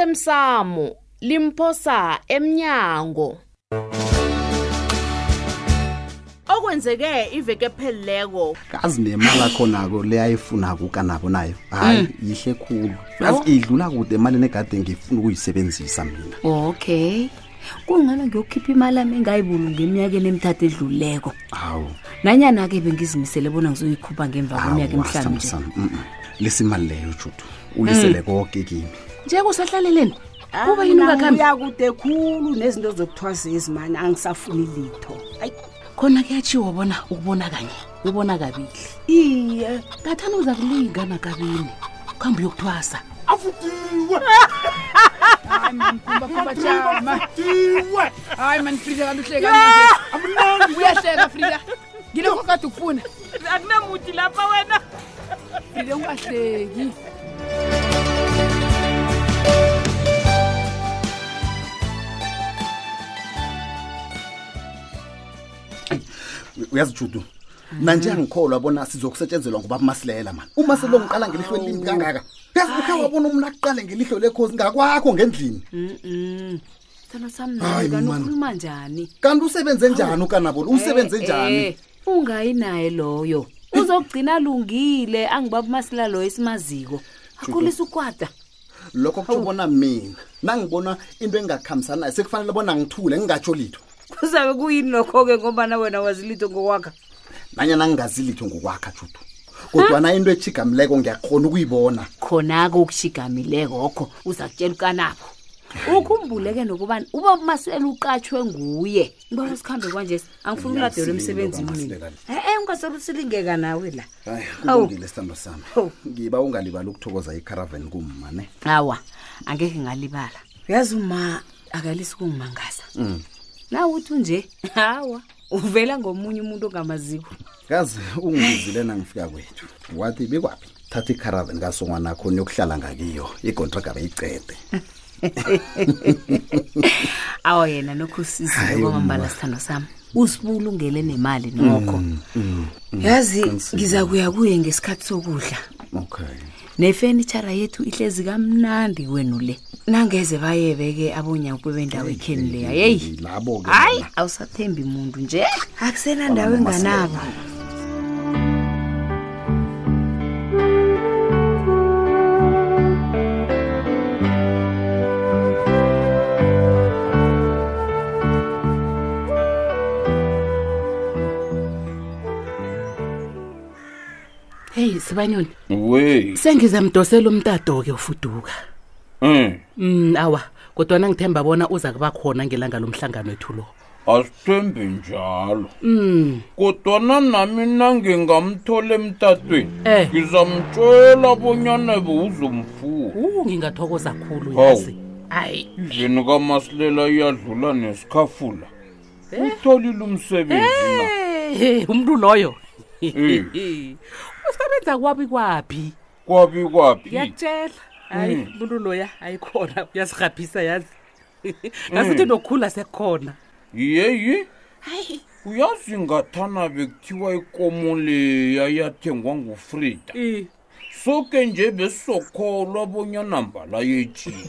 osemsamo limphosa emnyango okwenzeke iveke phelileko kazi nemali akhona-ko le ayifunako ukanabo nayo hayi Mm. yihle khulu kazi idlula kude emalini egade ngifuna ukuyisebenzisa mina okay kungalo ngiyokhipha imali ami engayibulunga eminyakeni emithathu edluleko hawu nanyana-ke bengizimisele bona ngizoyikhupha ngemva kweminyaka hawu emihlanu nje Mm. samsam lisa imali leyo judu ulisele konke kimi nje kusahlaleleni Ah, kuba yini ungakhambi kude khulu nezinto zokuthwazezi mani angisafuni litho ayi khona kuyatshiwo bona ukubona kanye ubona kabili iye ngathana uza kulinga nakabini kuhambe uyokuthwasa bajama hayi mani frida kanti uhleka manje uyahleka frida ngilokho kade ukufuna akunamuthi lapha wena frida ungahleki uyazi judu nanje Mm. angikholwa bona sizokusetshenzelwa ngoba masilela mani umasele ongiqala ngelihlo elimbi kangaka yazi ukhe wabona umntu aqale ngelihlo lekhozi ngakwakho ngendlini Mm. sithando sami nawe Hayi, kanti man. ukhuluma njani kanti usebenze njani ukanabona usebenze njani Eh, ungayi naye loyo uzokugcina alungile angibaba umasila loyo esimaziko akhulisa ukwada lokho kutsho bona mina nangibona into engingakhambisani nayo sekufanele bona ngithule ngingatsho litho kuzabe kuyini lokho-ke ngobana wena wazilitho ngokwakha nanyana ngingazi litho ngokwakha judu kodwana into echigamileko ngiyakhona ukuyibona khona-ke ukushigamilekokho uza kutshela ukanabo ukhumbuleke nokubani ubaba umasela uqatshwe nguye ngibona sikhambe kwanje angifuni ukuladelwa emsebenzini Eh, mina e-e ungaselusilingeka nawe la Hayi, Awu. kulungile sithando sami Hawu. ngiba ungalibali ukuthokoza icaravan kumma ne awa angeke ngalibala uyazi uma akalisi ukungimangaza nawe uthi unje hawa uvela ngomunye umuntu ongamaziko kazi ungibizile nangifika kwethu wathi bekwaphi thatha icaravan kasongwana akho niyokuhlala ngakiyo ikontraga beyicede awa yena nokho usizile Hayi, kwamambala uma. sithando sami usibulungele nemali nokho yazi ngiza kuya kuye ngesikhathi sokudla okay nefenitshara yethu ihlezi kamnandi wenu le nangeze bayebeke abonyaku bendawo ekheni leya yeyi labo-ke hayi awusathembi muntu nje akusenandawo enganabo heyi sibanyoni we sengizamdosela umtato-ke ufuduka um um awa kodwana ngithemba bona uza kuba khona ngelanga lomhlangano wethu lo asithembi njalo Mm. kodwana nami nangingamthola emtatweni Eh. ngizamtshela bonyana bewuzomfuwa u ngingathokoza khulu Hawu. yazi hayi izini kamasilela iyadlula nesikhafula utholile umsebenzi na Eh, umntu loyo Eh. usebenza kwabi kwaphi kwabi kwaphi ngiyakutshela Mm. hayi umuntu loya ayikhona uyasirhaphisa yazi Mm. ngasuthi nokukhula sekukhona yeyi uyazi ngathana bekuthiwa ikomo leya yathengwa ngufrida I, soke nje besokholwa bonyana mbala yejini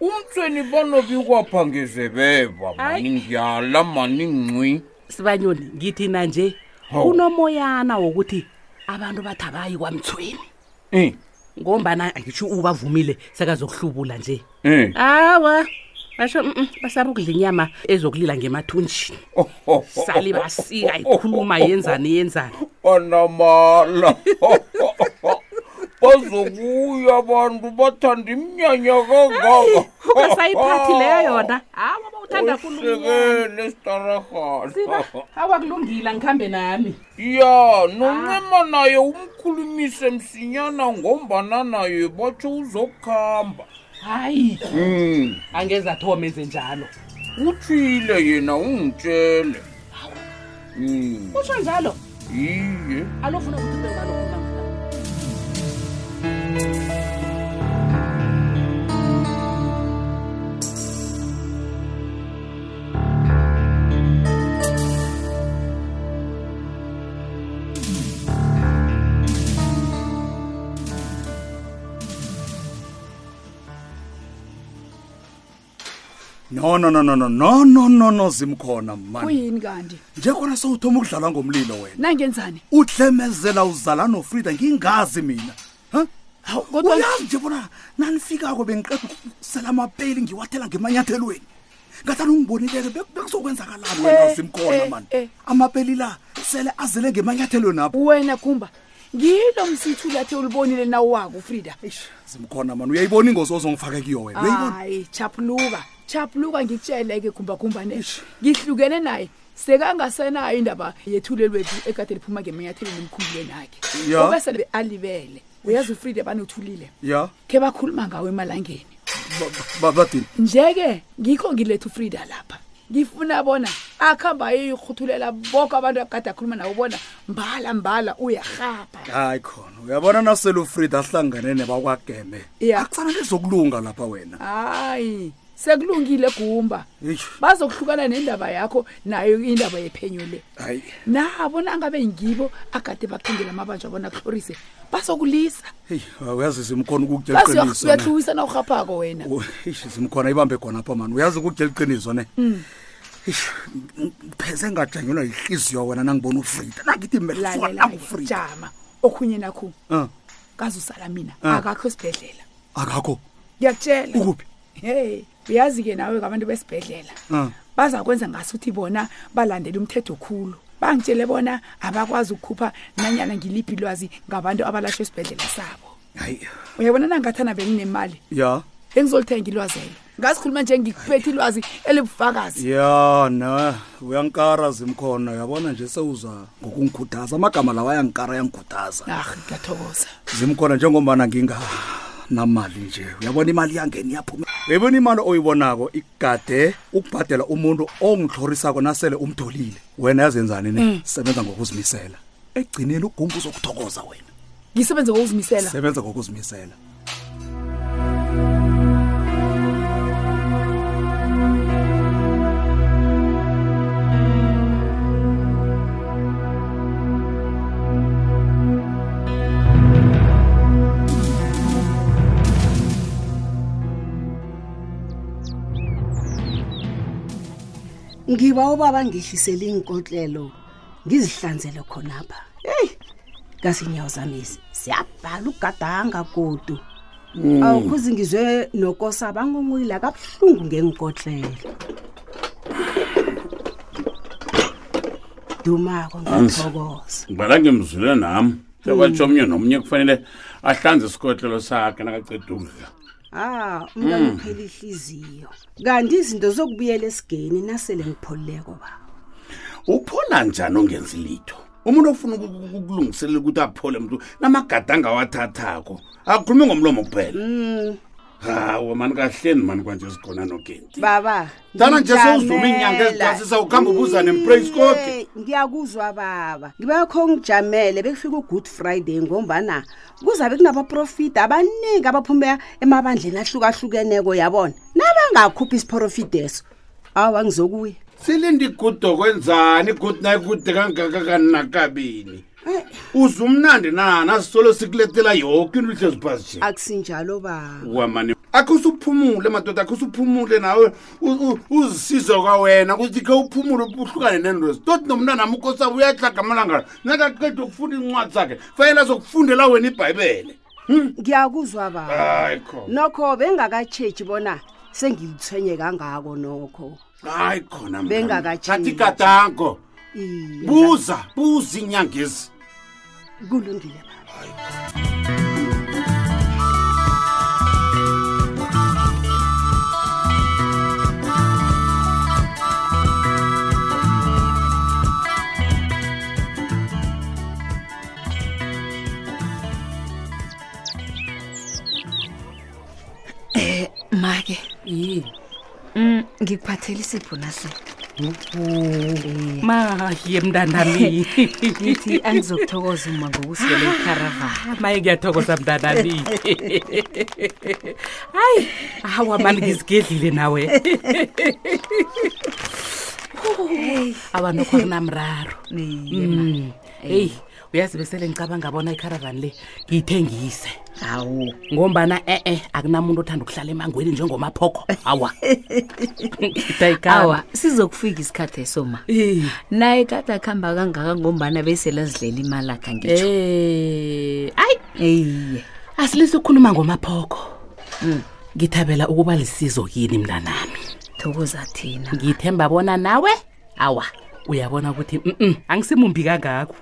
umtsweni banobikwapha ngezebeva mani ngiyala mani ngcwi sibanyoni ngithi nanje Hawu. kunomoyana wokuthi abantu bathi abayi kwamthweni Eh, ngombana angitsho ubavumile sekazokuhlubula nje eh. awa basho mm, mm, basaba ukudla inyama ezokulila ngemathunjini sali basika ikhuluma yenzani yenzani anamala bazokuya abantu bathanda iminyanya kangaka ungasayiphathi leyo yona hawa bawuthanda khulu usekele sitarahana awakulungile ngikhambe nami ya noncema naye umkhulumise msinyana ngombana naye batsho uzokuhamba hayi Hmm. um angeza thome enze njalo utshile yena ungitshele Mm, kutsho njalo iye alofuna ukuthi ube ngalokhu no no no no no no no no no zimkhona mani kuyini kanti njekhona sewuthoma ukudlalwa ngomlilo wena nangenzani uhlemezela uzala nofrida ngingazi mina Ha? kodwa- uyazi nje bona nanifikako bengiqeda ukusela amapeli ngiwathela ngemanyathelweni ngathani ungibonileke beku- bekuzokwenzakalani wena Eh, zimkhona eh, mani eh. amapeli la sele azele ngemanyathelweni apho wena khumba ngilo msithu lathe ulibonile nawo wako frida zimkhona mani uyayibona ingozi ozongifake kiyo wena Ah. uyayibona hayi chapuluka chapuluka ngikutsheleke khumbakhumbane ngihlukene naye sekangasenayo indaba yethulelwethu ekade liphuma ngemanyathelweni emkhumbulweni akhe Ya. obesele be-alibele uyazi ufrida baneuthulile ya khe bakhuluma ngawo emalangeni ba- ba- bathini nje-ke ngikho ngiletha ufrida lapha ngifuna bona akuhamba ayoyirhuthulela boko abantu akade akhuluma nabo bona mbala mbala uyarhapha hayi khona uyabona nasele ufrida ahlangane nebakwageme Ya. akufanele zokulunga lapha wena hayi sekulungile gumba Eish. bazokuhlukana nendaba yakho nayo indaba yephenyo le hayi nabo nangabe ngibo akade bakhengela amabanjwa bona kuhlorise bazokulisa heyi uyazi zimkhona ukukutya basi iqiniso ne. uyahluwisa na urhaphako wena Oh, eish, zimkhona ibambe khona apha mani uyazi ukutya liqiniso ne Eish, ng- pheze ngajangelwa yihliziyo wena nangibona ufrida nangithi lalela melangufrida jama okhunye nakho um kazusala mina Ah. akakho sibhedlela akakho ngiyakutshela ukuphi hey uyazi-ke nawe kabantu besibhedlela Ah. baza kwenza ngasuthi bona balandela umthetho khulu bangitshele bona abakwazi ukukhupha nanyana ngiliphi lwazi ngabantu abalashwe esibhedlela sabo hayi uyabona nangathana benginemali ya engizolithenga ilwazelo ngazikhuluma nje ngikuphethe ilwazi elibufakazi ya na uyankara zimkhona uyabona nje sewuza ngokungikhuthaza amagama lawo ayankara ayangikhuthaza ah ngiyathokoza zimkhona njengombana nginganamali nje uyabona imali yangeni yaphuma uyayibona imali oyibonako igade ukubhadela umuntu ongihlorisako nasele umtholile wena yazenzani Mm. ne sebenza ngokuzimisela egcineni ugumbu uzokuthokoza wena ngisebenze ngokuzimisela sebenza ngokuzimisela ngiba ubaba ngihlisele inkotlelo ngizihlanzele khonapha heyi ngasinyawo zamisi siyabhala ugadanga godu awukhuze ngizwe nokosa bangunquyila kabuhlungu ngenkotlelo dumako ngithokoza ngibala ngimzwile nami sebatsho omnye nomnye kufanele ahlanze isikotlelo sakhe nakaceda ukudla ah umntwana uphela ihliziyo kanti izinto zokubuyela esigeni nasele ngipholuleko ba uphola njani ongenzi litho umuntu ofuna uku- uku- ukulungiselela ukuthi aphole mntu namagadanga awathathako akhulume ngomlomo kuphela hawa mani kahleni mani kwanje sikhona nogenti baba Dana nje sewudlula ngijamela. iinyanga eziphasisa, ukhamba ubuzane nempraise God. Iye, ngiyakuzwa baba ngibakho ngijamele bekufika ugood friday ngombana kuzabe kunabaprofiti abaningi abaphume emabandleni ahlukahlukeneko yabona nabangakhuphi isiprofiteso awa ngizokuya silinde igudo kwenzani igudo nayikude kangakanakabini uze umnandi na nasisolo sikuletela yoke into lihle ziphasi nje akusinjalo baba wamane akho usuphumule madoda akho usuphumule nawe u- u- uzisize kwawena ukuthi khe uphumule uhlukane nendozi toti nomntana ami ukosi abo uyahlaga amalanga nakaqeda ukufunda incwadi zakhe fanele azokufundela wena ibhayibhele ngiyakuzwa baba hayi khona nokho bengakatshetshi bona sengilithwenye kangako nokho hayi khona Bengakatshintshi. gadango Iye, buza buza inyangezi kulungile baba make yini ngikuphathela isibhonasi maye mntanami ngithi angizokuthokoza uma ngokusibele ikharavana maye ngiyathokoza mntanami hayi hawa mani ngizigedlile nawe awa nokho akunamraro Iye, Mm. eyi uyazi besele ngicabanga bona icaravani le ngiyithengise hawu ngombana e-e akunamuntu othanda ukuhlala emangweni njengomaphoko awa awa sizokufika isikhathi esoma Eh. naye kade akuhamba kangaka ngombana beselazidlela imali akhe angitsho Eh, ayi eyiye asilise ukukhuluma ngomaphoko Hmm. ngithabela ukuba lisizo kini mntanami thokoza thina ngithemba bona nawe awa uyabona ukuthi mm angisimumbi kangako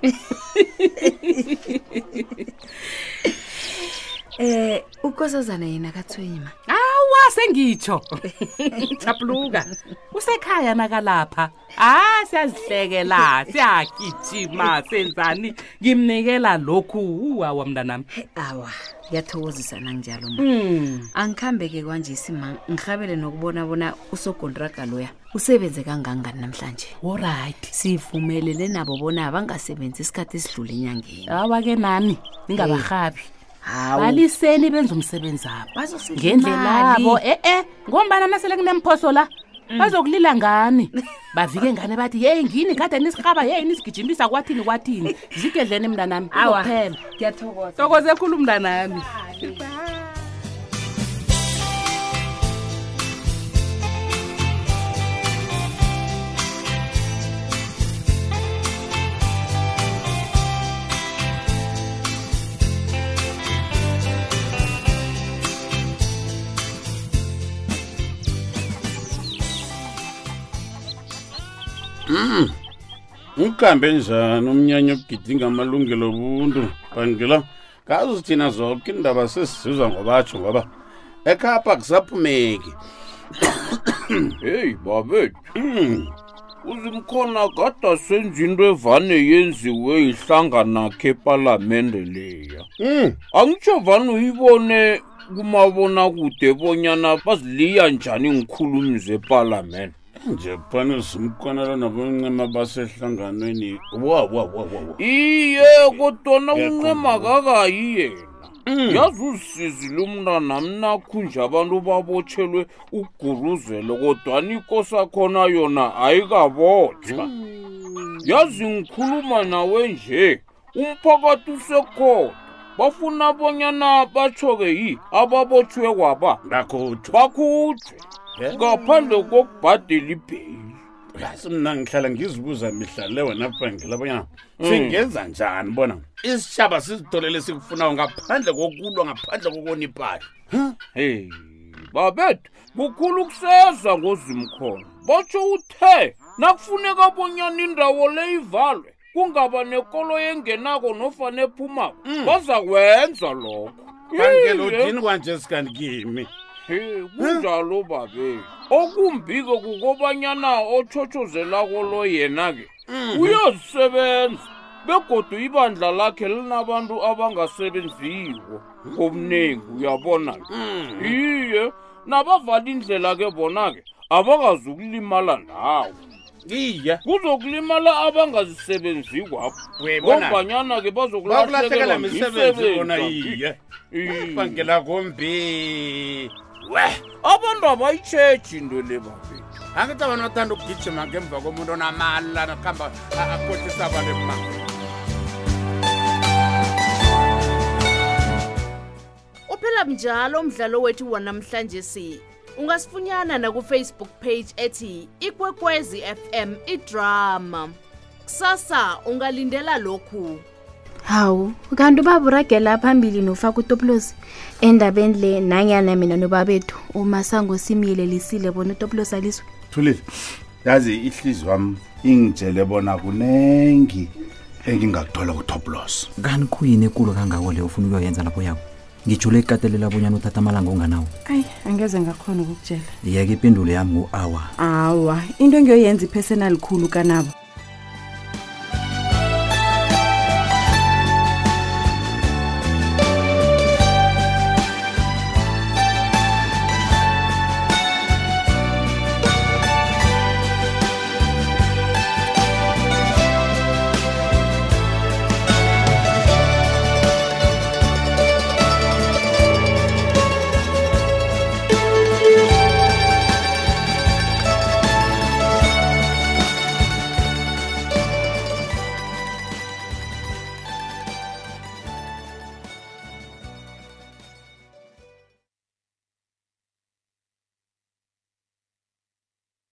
um ukosazana yena kathwenyima awa sengitsho chapuluka usekhaya nakalapha ah siyazihlekela siyagijima senzani ngimnikela lokhu uwawa mntanami awa ngiyathokozisa nanginjalo ma Mm. angikhambe-ke kwanje isima ngihabele nokubona bona usogontraga loya usebenze kangangani namhlanje olright sivumelele nabo bona bangasebenzi isikhathi esidlule enyangeni awa-ke nani ningabarhabi hawu baliseni benza umsebenzi abo bazosidla ngendlela imali. abo e-e ngombana nasele kunemphoso la bazokulila ngani bavike ngane bathi yeyi ngini kade nisirhaba yeyi nisigijimisa kwathini kwathini zigedleni mntanami Awa. kuzokuphela ngiyathokoza tokoze khulu mntanami ukambe njani umnyanya obugidinga amalungelo obuntu bangila ngazi thina zonke indaba sesizizwa ngobatsho ngoba ekhapha kusaphumeki heyi babethu uzimkhona kada senza into evane yenziwe yihlanganakhe epalamende leya angitsho vane uyibone kumabonakude bonyana baziliya njani ngikhulumi zepalamende nje phana simkonela naboncema basehlanganweni iye kodwana uncema kakayi yena yazi uzisizile umntana mnakhunje abantu babotshelwe ukuguruzelo kodwana ikosakhona yona ayikabotshwa yazi ngikhuluma nawe nje umphakathi usekhona bafuna bonyana batsho-ke yi ababotshwe kwaba bakhutshwe bakhutshwe ngaphandle kokubhadela ibheyili yazi mna ngihlala ngizibuza mihla le wena bhangela bonyana singenza njani bona isitshaba sizitholele sikufunayo ngaphandle kokulwa ngaphandle kokonipahla heyi babethu kukhulu kuseza ngozimkhona batsho uthe nakufuneka bonyana indawo le ivalwe kungaba nekolo yengenako nofana ephumako baza kwenza lokho kankele udini kwanje sikani kimi kunjalo babe okumbike kukobanyana otshotshozelako lo yena-ke uyazisebenza begodu ibandla lakhe linabantu abangasebenziko ngomningi uyabona-ke Mhm. iye nabavala indlela-ke bona-ke abakazukulimala ndawo iye kuzokulimala abangazisebenzi kwapho ngombanyana-ke bazokulahlekelwa misebenzi bona iye bangela kombi we abantu abayitshetshi into le babethu angithi abantu bathanda ukugijima ngemva komuntu onamala nakuhamba akhohlisa abantu emanga uphela njalo umdlalo wethu wanamhlanje si ungasifunyana nakufacebook page ethi ikwekwezi fm idrama kusasa ungalindela lokhu hawu kanti ubaburagela phambili nofaka utopulosi endabeni le nanyana mina nobabethu umasango simyelelisile bona utopulosi aliswe thulile yazi ihlizi wami ingitshele bona kunengi engingakuthola kutop loss kani kuyini ekulu kangako le ufuna ukuyoyenza lapho yakho ngijule ekatelela bonyana uthatha amalanga onganawo ayi angeze ngakhona ukukutshela yeke ipendulo yami ngu-awa awa into engiyoyenza iphesena likhulu kanabo